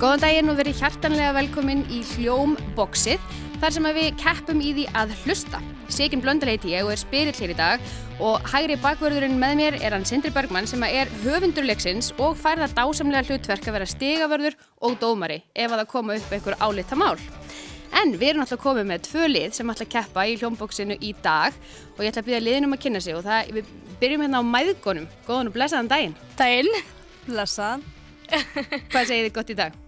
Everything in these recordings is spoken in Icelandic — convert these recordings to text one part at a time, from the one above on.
Góðan daginn og verið hjartanlega velkomin í Hljómboxið, þar sem að við keppum í því að hlusta. Sigin Blöndal heiti ég og er spyrill hér í dag og hægri bakvörðurinn með mér er hann Sindri Bergmann sem að er höfundur leiksins og fær það dásamlega hlutverk að vera stigavörður og dómari ef að það koma upp einhver álita mál. En við erum alltaf komið með tvö lið sem ætla að keppa í hljómboxinu í dag og ég ætla að byrja liðinum að kynna sig og það, við byrjum hérna á mæðgunum. Góðan og blessaðan daginn. Daginn. Blessaðan. Hvað segir þið gott í dag?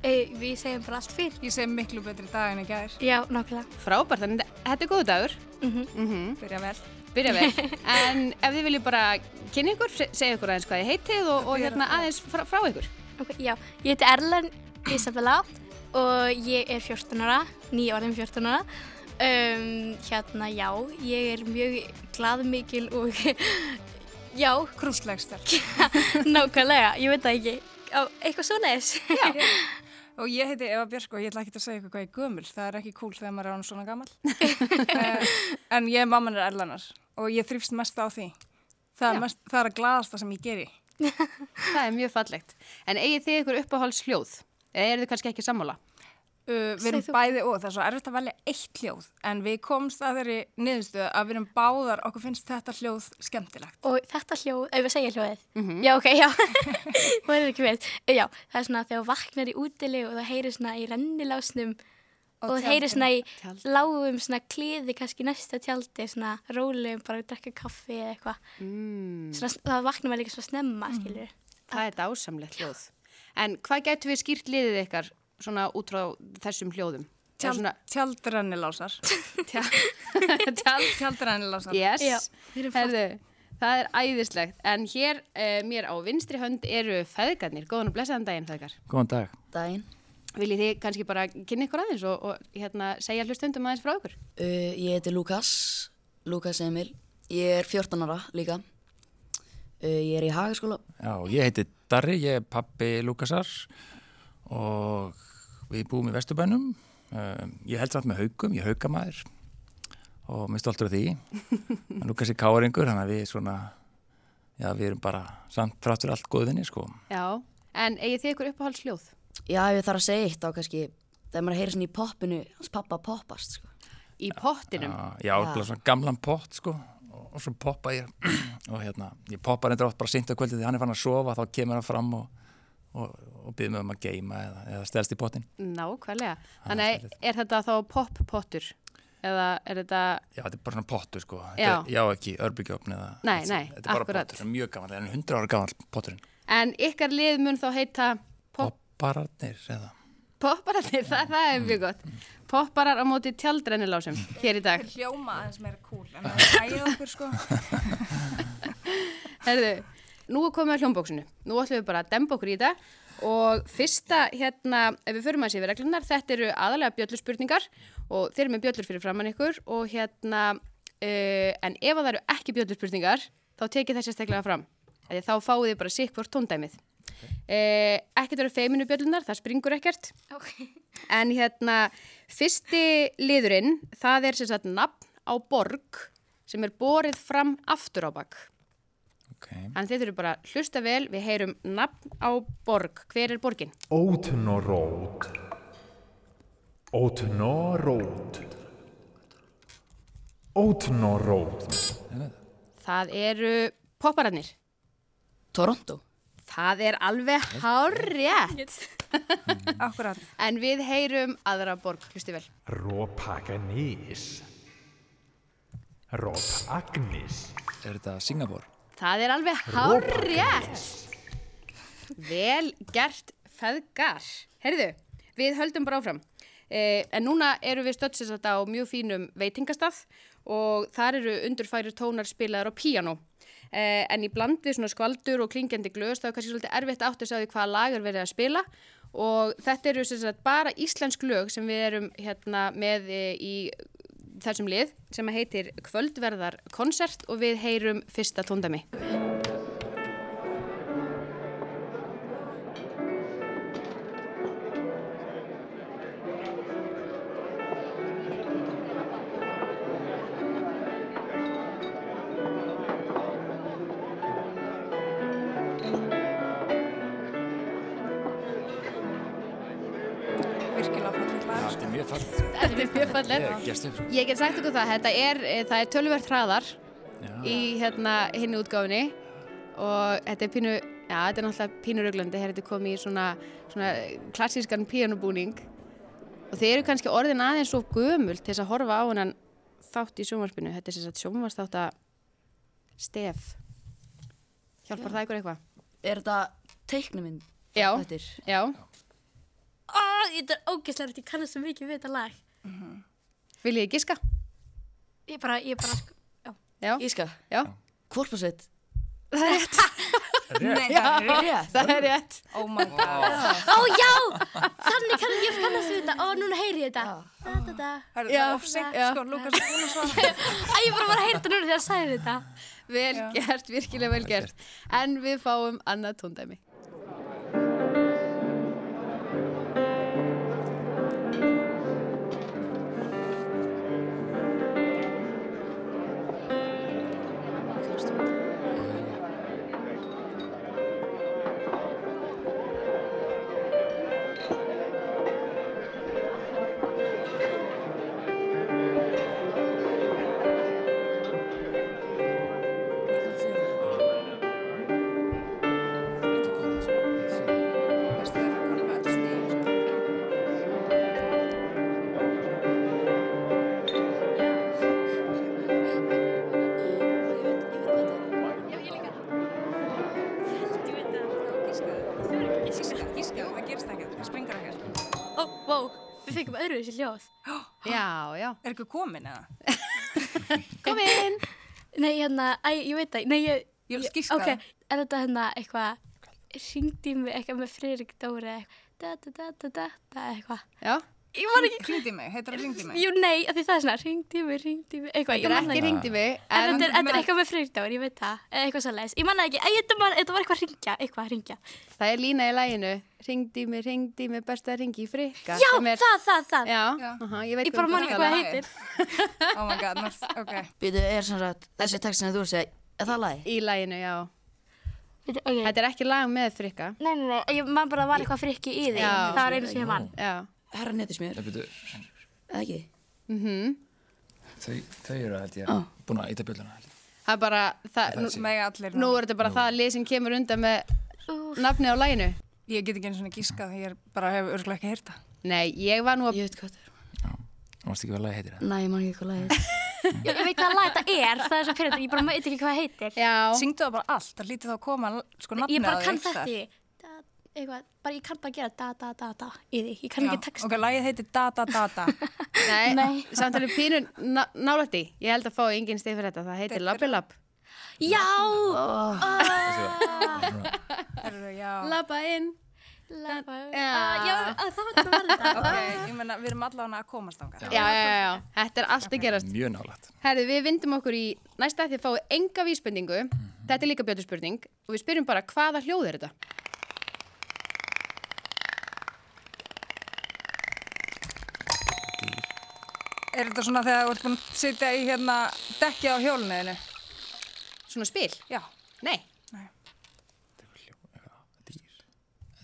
E, við segjum bara allt fyrr. Ég segi miklu betri dag en ég gær. Já, nokkulega. Frábært, þannig að þetta er góðu dagur. Mhm. Mm. Byrja vel. Byrja vel, en ef þið viljið bara kynna ykkur, se- segja ykkur aðeins hvað þið heitið og, og hérna aðeins frá, frá ykkur. Ok, já, ég heiti Erlen Isabella og ég er 14 ára, nýjórðin 14 ára. Um, hérna, já, ég er mjög glaðmikil og já, Krúslegstar. nákvæmlega, ég veit það ekki. Á, eitthvað svo neðis. Og ég heiti Eva Björk og ég ætla ekki að segja ykkur hvað ég er gömul. Það er ekki cool þegar maður er án svona gammal. uh, en ég er mammanar erlanar og ég þrýfst mest á því. Það er, mest, það er að glaðast það sem ég geri. Það er mjög fallegt. En eigið þið ykkur uppáhalds hljóð? Eða eru þið kannski ekki sammála? Uh, við erum Segð þú. bæði og það er svo erfitt að velja eitt hljóð. En við komst að þeirri niðurstöðu að við erum báðar, okkur finnst þetta hljóð skemmtilegt. Og þetta hljóð, ef við segja hljóðið. Já, ok, já. það er ekki verið. Já, það er svona þegar þú vaknar í útili og það heyrir svona í rennilásnum og, það heyrir svona í Tjald. lágum svona kliði kannski næsta tjaldi, svona rólegum bara að drekka kaffi eða eitthvað. Mm, Svona, það vaknar maður líka svo snemma, mm. skilur. það er dásamlegt hljóð. En hvað getur við skýrt liðið ykkar svona út frá þessum hljóðum? Eða Tjald, Svona, tjaldrennilásar. tjald, Tjaldrennilásar. yes. Já, við erum flott. Herðu, það er æðislegt. En hér eh, mér á vinstri hönd eru feðgarnir. Góðan og blessaðan daginn, feðgar. Góðan dag. daginn. Viljið þið kannski bara kynna ykkur aðeins og, og hérna, segja hlustundum aðeins frá ykkur? Uh, ég heiti Lukas, Lukas Emil. Ég er 14 ára líka. Uh, ég er í hagaskóla. Já, ég heiti Darri, ég er pappi Lukasar og við búum í Vesturbænum. Um, ég held samt með haugum, ég er haugamæður og mér stoltur af því. En Lukas er káringur, þannig að við svona, já, við erum bara samt fráttur allt góðinni, sko. Já, en eigið þið ykkur uppáhalds hljóð? Já, ef ég þarf að segja eitt á kannski, þegar maður heyrir svona í poppinu, hans pappa poppast, sko. Í pottinum? Já, já, bara svona gamlan pott, sko, og svo poppa ég og hérna, ég poppa reyndar oft bara sýnt á kvöldið því hann er fann að sofa, þá kemur hann fram og, og, og byrðum við um að geima eða, eða stelst í pottin. Nákvæmlega. Þannig að er þetta þá poppottur? Eða er þetta, Já, þetta er bara svona pottur sko. Já. Þetta er- já ekki örbyggjofn eða... Nei, nei, Þetta er bara akkurat. pottur, þetta er mjög gammal, en 100 ára gammal potturinn. en ykkar lið mun þá heita pop, Poppararnir eða... poppararnir, það, það er mjög gott. Mm. Popparar á móti tjaldrennilásum hér í dag. Hljóma aðeins meira cool en það er ægið okkur sko. Herðu, nú er komið að hljómbóksinu. Nú ætlum við bara að demba okkur í þetta og fyrsta, hérna, ef við förum að sér við reglunar, þetta eru aðalega bjöllurspurningar og þeir eru með bjöllur fyrir framann ykkur og hérna, uh, en ef að það eru ekki bjöllurspurningar, þá tekið þessi steklega fram. Þegar þá fáið þið bara sikk hvort tóndæmið. Okay. ekkert eru feiminu bjöllunar, það springur ekkert. Ok. En hérna, fyrsti liðurinn, það er sem sagt nafn á borg sem er borið fram aftur á bakk. Ok. En þið þurfum bara að hlusta vel, við heyrum nafn á borg. Hver er borgin? Ótn og rót. Ótn og rót. Ótn og rót. Það eru poppararnir. Toronto. Það er alveg hárrétt. Akkurat. En við heyrum aðra borg, hlustu vel. Rópakanis. Rópagnis. Er þetta Singapur? Það er alveg hárrétt. Vel gert feðgar. Herðu, við höldum bara áfram. Eh, en núna eru við stöttsins þetta á mjög fínum veitingastað og þar eru undurfæri tónar spilaðar á píano. Eh, en í bland við svona skvaldur og klingjandi glöðs þá er kannski svolítið erfitt átt að segja því hvaða lag er verið að spila og þetta eru sem sagt bara íslensk lög sem við erum hérna með eh, í þessum lið sem heitir Kvöldverðar konsert og við heyrum fyrsta tóndami. Falleg. Gerst upp, sko. Ég get sagt ykkur það, þetta er, eh, það er tölvert hraðar Já, í hérna hinn útgáfinni og þetta er pínu, já þetta er náttúrulega pínuröglandi, þegar þetta er komið í svona, svona klassískan píanobúning og þeir eru kannski orðin aðeins svo gömul til þess að horfa á hennan þátt í sjónvarpinu, þetta er sem sagt sjónvarsþátt að stef Hjálpar það ykkur eitthvað? Er þetta teiknumind? Já, Þetta er já, Ó, þetta er ógeðslega rætt, ég kannast svo mikið við þetta lag. viljið þið giska? Ég bara, ég bara, sko, Já, Íska, já, Kvorpasveit Nei, það er Rétt það er rétt Oh my god. ó já, þannig kannast ég kannast við þetta, ó núna heyri ég þetta. Da, da, da. Það er- það Já, er ofsegt, já. sko, Lukas er búin að svara. Æ, ég bara var að heyra þetta núna þegar það sagði þetta. Vel gert, virkilega vel gert. En við fáum annað tóndæmi. sko. sko. Gíska, það gerist ekkert, það springar ekkert. Ó, vó, við fengum öðru þessi hljóð. Já, já. Er ekki komin eða? Kom inn! Nei, hérna, æ, ég veit það, nei, ég... Ég vil skýrka Ok, er þetta hérna eitthvað, ringdi mig eitthvað með Friðrik Dóri eða eitthvað, da, da, da, da, da, da, eitthvað. Já, Ég var ekki, Hringdi í mig, heitir það hringdi í mig? jú, nei, af því það er svona, ringdi mig, ringdi mig, eitthvað, ég þetta er manna ekki ekki. ringdi mig, En en þetta er, þetta er með- eitthvað með Friðrik Dóri, ég veit það, eða eitthvað svolítið. Ég manna ekki, æ, þetta var, þetta var eitthvað að ringja, eitthvað að ringja. það er lína í læginu. Ringdi mig, ringdi mig, best að ringi í frikka. Já, sem er- það, það, það. Já, Já. aha, ég veit Ég bara þú man ert að ekki hvað tala það um. heitir. Oh my god, nú, ok. Býtu, er sem sagt þessi text sem þú er að segja Er það lagi? Í læginu, já. Veitu, ok. Þetta er ekki lag með frikka. Nei, nei, nei, ég man bara að var eitthvað frikki í því. Já. Það var einu sem ég man. Já, Herra netismjör, það byrju, eða ekki? þau, þau eru held ég Ah. Ó. búin að eita bjölluna. held ég. það er bara, það, nú, Mega allir. nú er þetta bara það lið sem kemur undan með nafni á læginu. Ég get ekki einu svona gískað, ég er bara hef örglega ekki heyrta. Nei, ég var nú að, Ég veit hvað það er Mást ekki vel að heitir það? Næ, ég man ekki hvað lagi Ég, ég veit hvað lag þetta er, það er svo pyrrandi, ég bara veit ekki hvað það heitir. já, Syngdu það bara allt, það lítið þá að koma sko nafnið Ég bara á kann þér þetta þar. í, da, eitthvað, bara ég kann bara gera da, da, da, da í því. Ég kann Já, ekki texta. Ok, lagið heitir Da Da Da Da. nei, samt alveg pínu ná, nálætti. Ég held að fá engin stið fyrir þetta, það heitir Labbi Labb. Já! Herru, já. Labba inn. Labba- Já. Ah, Já, á, það var það var þetta. Ok, ég menna, við erum allavega að komast ánga. já, já, já, já. þetta er allt að gerast Mjög nálægt. Herðu, við vindum okkur í næsta því að fáið enga vísbendingu þetta er líka bjötu spurning og við spyrjum bara hvaða hljóð er þetta Er þetta svona þegar þú ert búin að sitja í hérna dekkið á hjólunniðinu? svona spil? Já. Nei,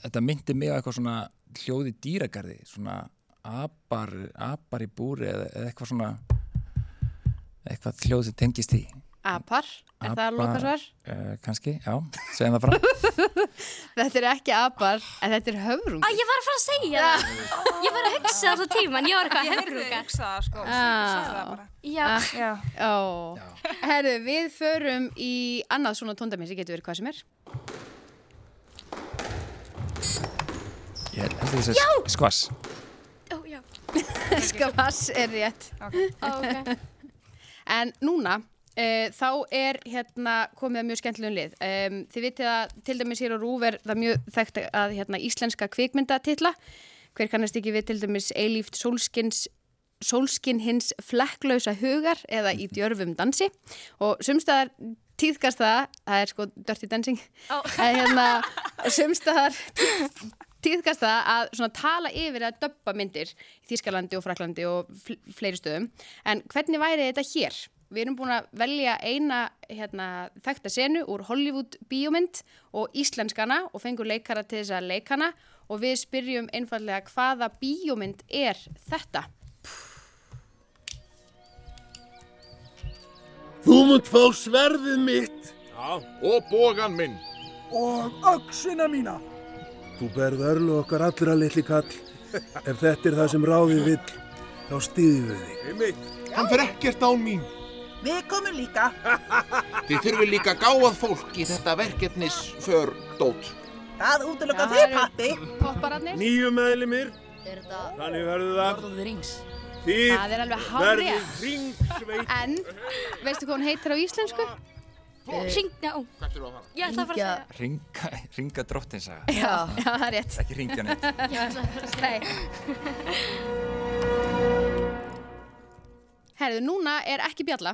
Þetta myndi mig á eitthvað svona hljóði dýragarði, svona apar, apar í búri eða, eða eitthvað svona eitthvað hljóð sem tengist í. apar, er það lokasvar? Uh, kannski, já, segjum það bara. Þetta er ekki apar, en þetta er höfrung Æ, ég var að fara að segja það. Ég var að hugsa alltaf tíman, ég var eitthvað að höfruga. hugsa það sko. Já, Já. Ó, herðu, við förum í annað svona tóndamins, ég getur verið hvað sem er Ég held að þess að skvass. ó, já, Skavass er rétt ó, ok. En núna Uh, þá er hérna komið að mjög skemmtilegum lið. Um, þið vitið að til dæmis hér á Rúf er það mjög þekkt að hérna, íslenska kvikmyndatitla. Hver kannast ekki við til dæmis eilíft sólskins sólskin hins flekklausa hugar eða í djörfum dansi og sumstaðar tíðkast það það er sko Dirty Dancing Ó. en hérna sumstaðar tíðkast það að svona tala yfir að döbba myndir í Þýskalandi og Fraklandi og fl fleiri stöðum en hvernig væri þetta hér? Við erum búin að velja eina hérna, þekta senu úr Hollywood bíómynd og íslenskana og fengur leikara til þess að leikana og við spyrjum einfallega hvaða bíómynd er þetta? Þú munt fá sverðið mitt Já, og bógan minn. og öxina mína. Þú berð örlu okkar allra litli kall. Ef þetta er það sem ráðið vill, þá stýðum við þig. Einmitt. Hann fer ekkert án mín. Við komum líka. Þið þurfið líka gáðað fólk í þetta verkefnis för dót. Það útlöka Það þig, eru- pappi. Poppararnir, Nýju meðlumir, Er þetta þannig verður Lord of the Rings? það er alveg hárið. ringsveit. En, veistu hvað hún heitir á íslensku? Ringna, ó, Hvert er það að fara? ég ætla að fara að Ringa, ringa dróttinsaga. Já. Já, það er rétt. Ekki ringja neitt. segja, ég ætla að fara að segja. Nei. Herðu, núna er ekki bjalla.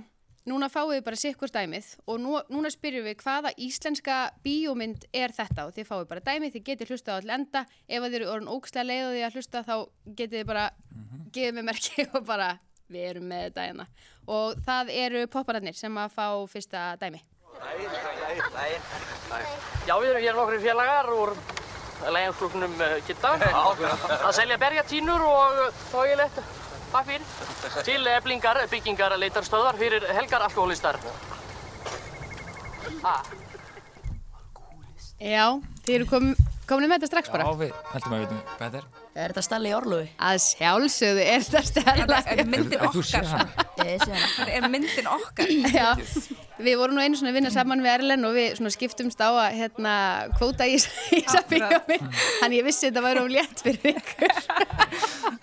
Núna fáið við bara sikkur dæmið og nú, núna spyrjum við hvaða íslenska bíómynd er þetta og þið fáið bara dæmið, þið getið hlusta á all enda. Ef þið eru orðin ókslega leið og þið að hlusta þá getið þið bara, gefið mér merki og bara við erum með þetta hérna. Og það eru poppararnir sem að fá fyrsta dæmi. Já, við erum hér nokkru félagar úr leiðanslúknum uh, Kitta að selja berjatínur og uh, þógilegt pappir til eblingar, byggingar, leitarstöðar fyrir helgar alkoholistar. Já, þið eru kom, komin með þetta strax Já, bara. við heldum að við veitum hvað þetta er. Er þetta Stelli í Orlofi? Að sjálfsögðu er þetta stærla. er myndin eh, Þú sér okkar. hana. Ég sé hana. Það er myndin okkar. Já, við vorum nú einu svona að vinna saman við Erlen og við svona skiptumst á að hérna kvóta í þessa bíómi þannig ég vissi þetta væri um létt fyrir ykkur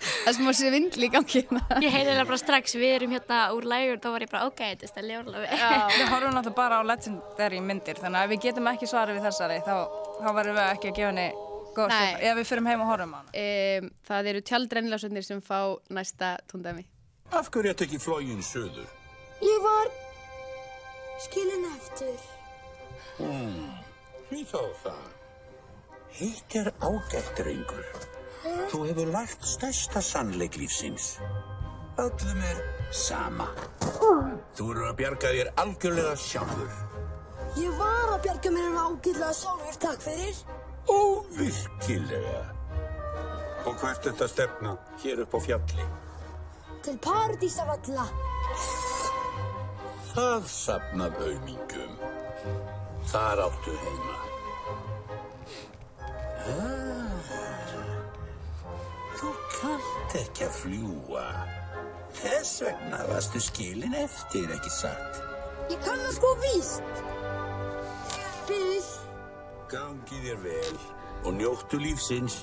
það sem var sér vindl í gangi hérna. Ég heiti það bara strax, við erum hérna úr lægur, þá var ég bara, ok, þetta er stæli orlofi. Við horfum náttúrulega bara á legendary myndir, þannig að ef við getum ekki svarið við þessari, þá, þá verðum við ekki að gefa henni góð Nei. svip. Ef við fyrum heim og horfum á hana. um, Það eru tjaldrennilásunir sem fá næsta tóndæmi Af hverju ertu ekki flóginn söður? Ég var skilin eftir. Því þá það. Hitt er ágætt rengur. Þú hefur lært stærsta sannleik lífsins. Öllum er sama. Þú eru að bjarga þér algjörlega sjálfur. Ég var að bjarga mér en ágætlega sjálfur, takk fyrir. Óvirkilega. Og hvert þetta stefna hér upp á fjalli? Til paradísar alla. Það safnað aumingum. Þar áttu heima. Ah, þú kannt ekki að fljúa. Þess vegna varstu skilin eftir, ekki satt? Ég kann það sko víst. Fyrir. Gangi þér vel og njóttu lífsins.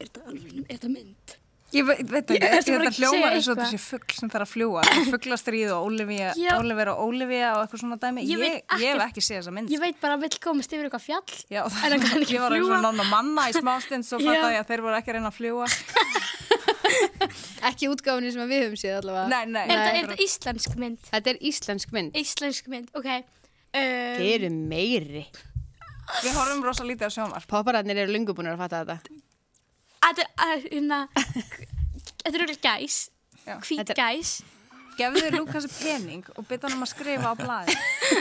Er þetta alveg, er þetta mynd? Ég veit, veit ekki, ætla bara ekki þetta að segja hljómar eins og eitthvað. þessi fugg sem þarf að fljúa. Fugglastrýð og Olivia, Já. Oliver og Olivia og eitthvað svona dæmi. Ég Ég, veit ég, hef ekkert- ekki séð þessa mynd. Ég veit bara að vill komast yfir eitthvað fjall. Já, En hann kann það, ekki ég var eins og fljúga. nonna manna í smástund, svo Já. fattaði ég að þeir voru ekki að reyna að fljúa. Ekki útgáfunni sem við höfum séð allavega Nei, nei. Er þetta- er þetta íslensk mynd? Þetta er íslensk mynd Íslensk mynd, ok. Um, Þið eru meiri Við horfum rosa lítið á sjónvarp. Poppararnir eru lungu búin að fatta þetta Þetta er, hérna, þetta er auðvitað gæs, Já. hvít Þetta er- gæs. Gefðu Lukasi pening og byrja hann um að skrifa á blæði.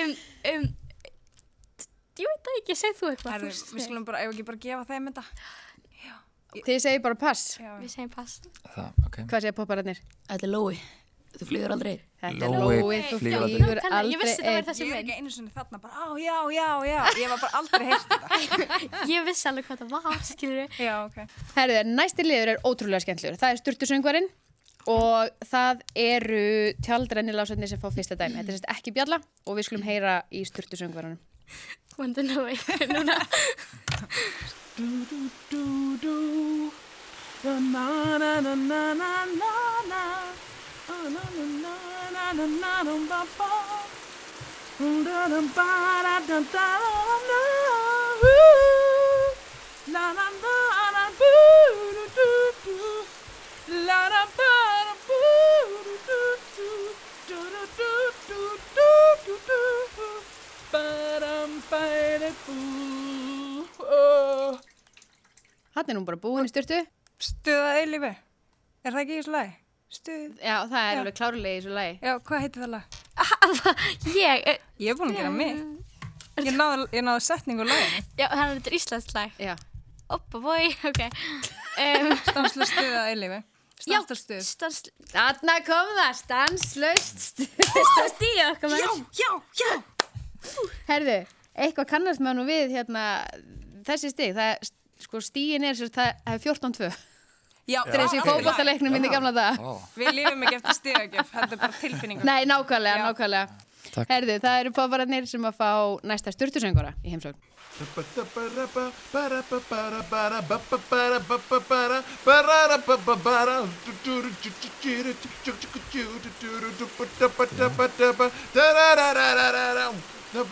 Um, um, ég veit það ekki, segð þú eitthvað, Við þú veist. skulum bara, ef ekki bara gefa þeim þetta. Þið segir bara pass Við segjum pass. Það, ok. Hvað segir poppararnir? Þetta er Lói. Þú flýgur aldrei. Þetta er Lói Lói, þú flýgur aldrei. flýgur Þannig, aldrei ég vissi þetta var einn. þessi Ég er mynd. ekki einu sinni þarna bara, á, já, já, já, ég var bara aldrei heyrt þetta. Ég vissi alveg hvað það var, skilur við. Já, ok. Herðu, næsti liður er ótrúlega skemmtlur. Það er styrtusöngvarinn og það eru tjaldrennilásarnir sem fá fyrsta dæmi. Þetta er sérst ekki bjalla og við skulum heyra í styrtusöngvarunum. Wonder no way, núna. Hann er nú bara búin í styrtu. Stuða eilífi. Er það ekki í þessu lagi? Stuð. Já, það er alveg klárlega í þessu lagi. Já, hvað heitir það lag? Ég, eh, Ég er búin að gera mig. Ég náði, ég náði setningu og lagi. já, þannig að þetta er íslensk lag. Já. Oppa boy, ok. Um, Stanslega stuða eilífi. Stanslaust stuð. Stans... Þarna kom það, stanslaust stuð. Stanslaust í okkar maður. Já, já, já. Herðu, eitthvað kannast maður nú við hérna þessi stig. Það er, sko, stíin er sér, það það er 14-2. Já, Þetta er eins og í ok. fótballaleiknum minni í gamla daga. Við lifum ekki eftir stigagjöf, þetta er bara tilfinningur. Nei, nákvæmlega, nákvæmlega. Takk. Herðu, það eru páfararnir sem að fá næsta styrtusöngura í heimsókn. Þetta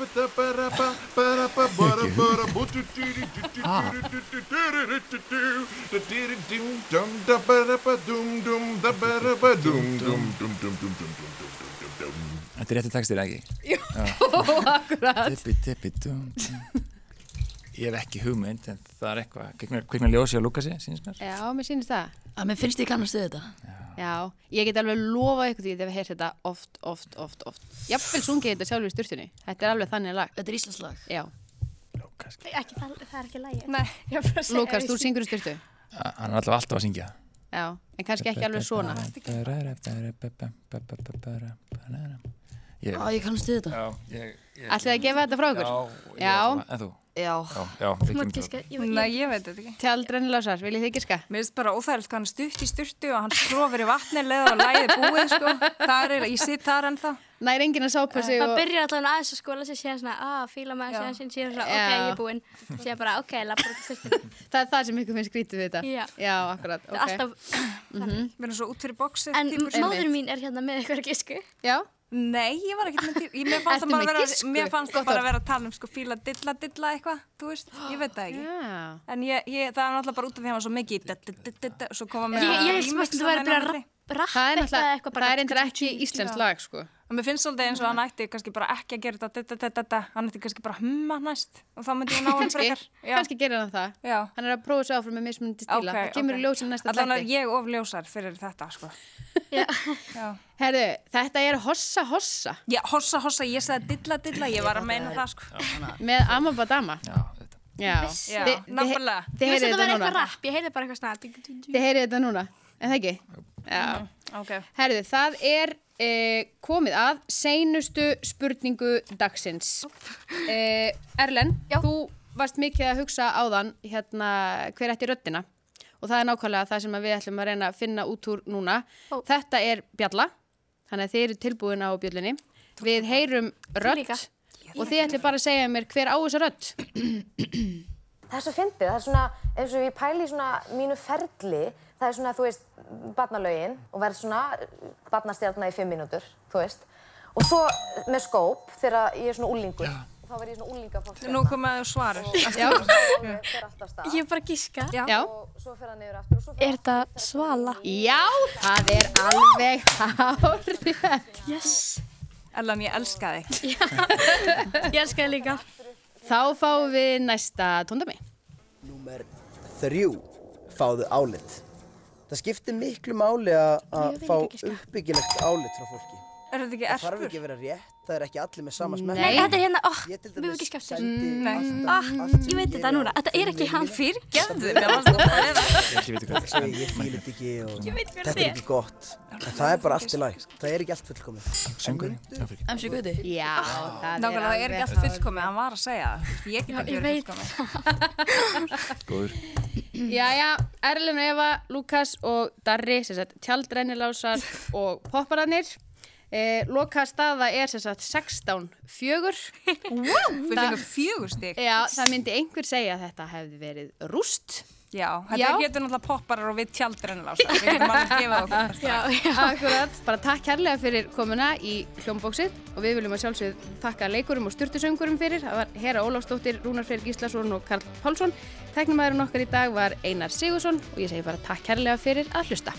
er rétti textir, ekki? Jú, akkurat. Tippi, tippi, dum, dum. Ég hef ekki hugmynd, en það er eitthvað. Kviknar, kviknar ljósi á Lukasi, sínst mér. Já, mér sýnist það. Að mér finnst ég kannast við þetta. Já, ég get alveg lofa ykkur því að ég hef heyrt þetta oft, oft, oft, oft. Jafnvel sungið þetta sjálfur í styrtunni. Þetta er alveg þannig lag. Þetta er Íslands lag? Já. Ekki, það, það er ekki lægið. Nei, ég er bara að segja. Lukas, þú syngur í styrtu. Hann er alltaf alltaf að syngja. Já, en kannski ekki alveg svona. Ég, Á, ég kannast við þetta. Já, ég... ég Ætlið að gefa þetta frá ykkur? Já, ég Já. ætla- En þú? Já. Já, já, við gerum þetta. Nei, ég veit þetta ekki. Tjaldrenn Lásar, viljið þið giska? Mér finnst bara óþægilegt hvað hann er stutt í sturtu og hann skrofir í vatnilega og læðið búið, sko. Þar er, ég sitt þar ennþá. Nær enginn að sápa sig Það og... byrjar allavega aðeins að skóla sig síðan svona, að fíla maður síðan síðan síðan svona, ok, Já. ég er búinn. Síðan bara, ok, lappur út í styrkinu. Það er það sem ykkur finnst grítið við þetta. Já. akkurat. Það er Okay. alltaf, Mér er svo út fyrir bóksi. en móður mín er hérna með ykkur gisku. Já. Nei, ég var ekkert með tíl. Ég, mér fannst Ertu það bara með vera, gísku? mér fannst það Gott bara orð. vera að tala um sko fíla dilla dilla eitthvað, þú veist, ég veit það ekki. Já. En ég, ég, það er náttúrulega bara út af því að hann var svo mikið í da- da- da- da- da- svo koma Ég, með ég held sem að þú væri bara að rapp- Það er rappa eitthvað náttúrulega, eitthvað það er bara. endur ekki íslensk lag, sko. Og mér finnst svolítið eins og hann ætti kannski bara ekki að gera þetta, þetta, þetta, þetta, hann ætti kannski bara að humma næst og þá myndi ég ná hann Kanski, frekar. Já. kannski gerir hann það. Já. Hann er að prófa sig áfram með mismunandi stíla. Ok, það kemur í ok. ljósin næsta Allan er þætti. ég of ljósar fyrir þetta, sko. Já. Herðu, þetta er Hossa Hossa Já, hossa, hossa, ég sagði dilla, dilla, ég var að meina það, sko. með Amabadama. Já, þetta. Já, Já, Þi- þi- nákvæmlega. Þið Ég veist heyrið að það væri þetta eitthvað núna. rapp, ég heyrði bara eitthvað svona. ding, ding, ding. Þið heyrið þetta núna, en það ekki? Já. Ok. Herðu, það er e, komið að seinustu spurningu dagsins. E, Erlen, þú varst mikið að hugsa áðan hérna, hver ætti röddina og það er nákvæmlega það sem að við ætlum að reyna að finna út úr núna. Ó. Þetta er bjalla, þannig að þið eru tilbúin á bjöllinni. Við heyrum rödd líka. og þið ætlum bara að segja mér hver á þessa rödd. Það er svo fyndið, það er svona, eins og ég pæli í svona mínu ferli, það er svona, þú veist, barnalögin og verð svona barnastjarnar í fimm mínútur, þú veist. Og svo með skóp, þegar ég er svona úlingur, þá verð ég svona úlingafólk. Nú komaðu svarið. Já. Ég er bara að giska. Já. Og svo fer hann niður aftur og svo fer Er þetta svala? Já, það er alveg hárið. Yes. Ellan, ég elska þig. Ég elska það líka. Þá fáum við næsta tóndami. Númer þrjú, fáðu álit. Það skiptir miklu máli að- að fá uppbyggilegt álit frá fólki. Er þetta ekki Það þarf erfur? ekki að vera rétt, það er ekki allir með sama smekk. Nei, þetta er hérna, oh, Ég til við erum dæmis ekki skemmt sendi alltaf Ah, allt ég veit þetta núna, þetta er ekki hann fyrir. Gefðu, mér varst það bara eða. Ég ekki veit hvað þetta er. Sorry, ég fíl þetta ekki og veit hver þetta þetta er er. ekki gott. En það er bara allt í læg. Það er ekki allt fullkomið. Söngurinn, já, fyrir ekki. MC Guði. Já, það Nákvæmlega, það er ekki allt fullkomið, hann var að segja það. Ég get Ég ekki verið veit fullkomið. Góður. Jæja, Erlin og Eva, Lukas og Darri, sem sagt, tjaldrennilásar og popparannir. Eh, loka staða er sem sagt 16-4. Við fengum fjögur stík. Já, það myndi einhver segja að þetta hefði verið rúst. Já, Já. þetta hétur náttúrulega popparar og við tjaldrennilega. Við getum alveg að gefa það okkur. Já, já. Akkurat. Bara takk kærlega fyrir komuna í hljómbóksið og við viljum að sjálfsögð þakka leikurum og styrtusöngurum fyrir. Það var Hera Ólafsdóttir, Rúnar Freyr Gíslason og Karl Pálsson. Tæknumæðurinn okkar í dag var Einar Sigursson og ég segi bara takk kærlega fyrir að hlusta.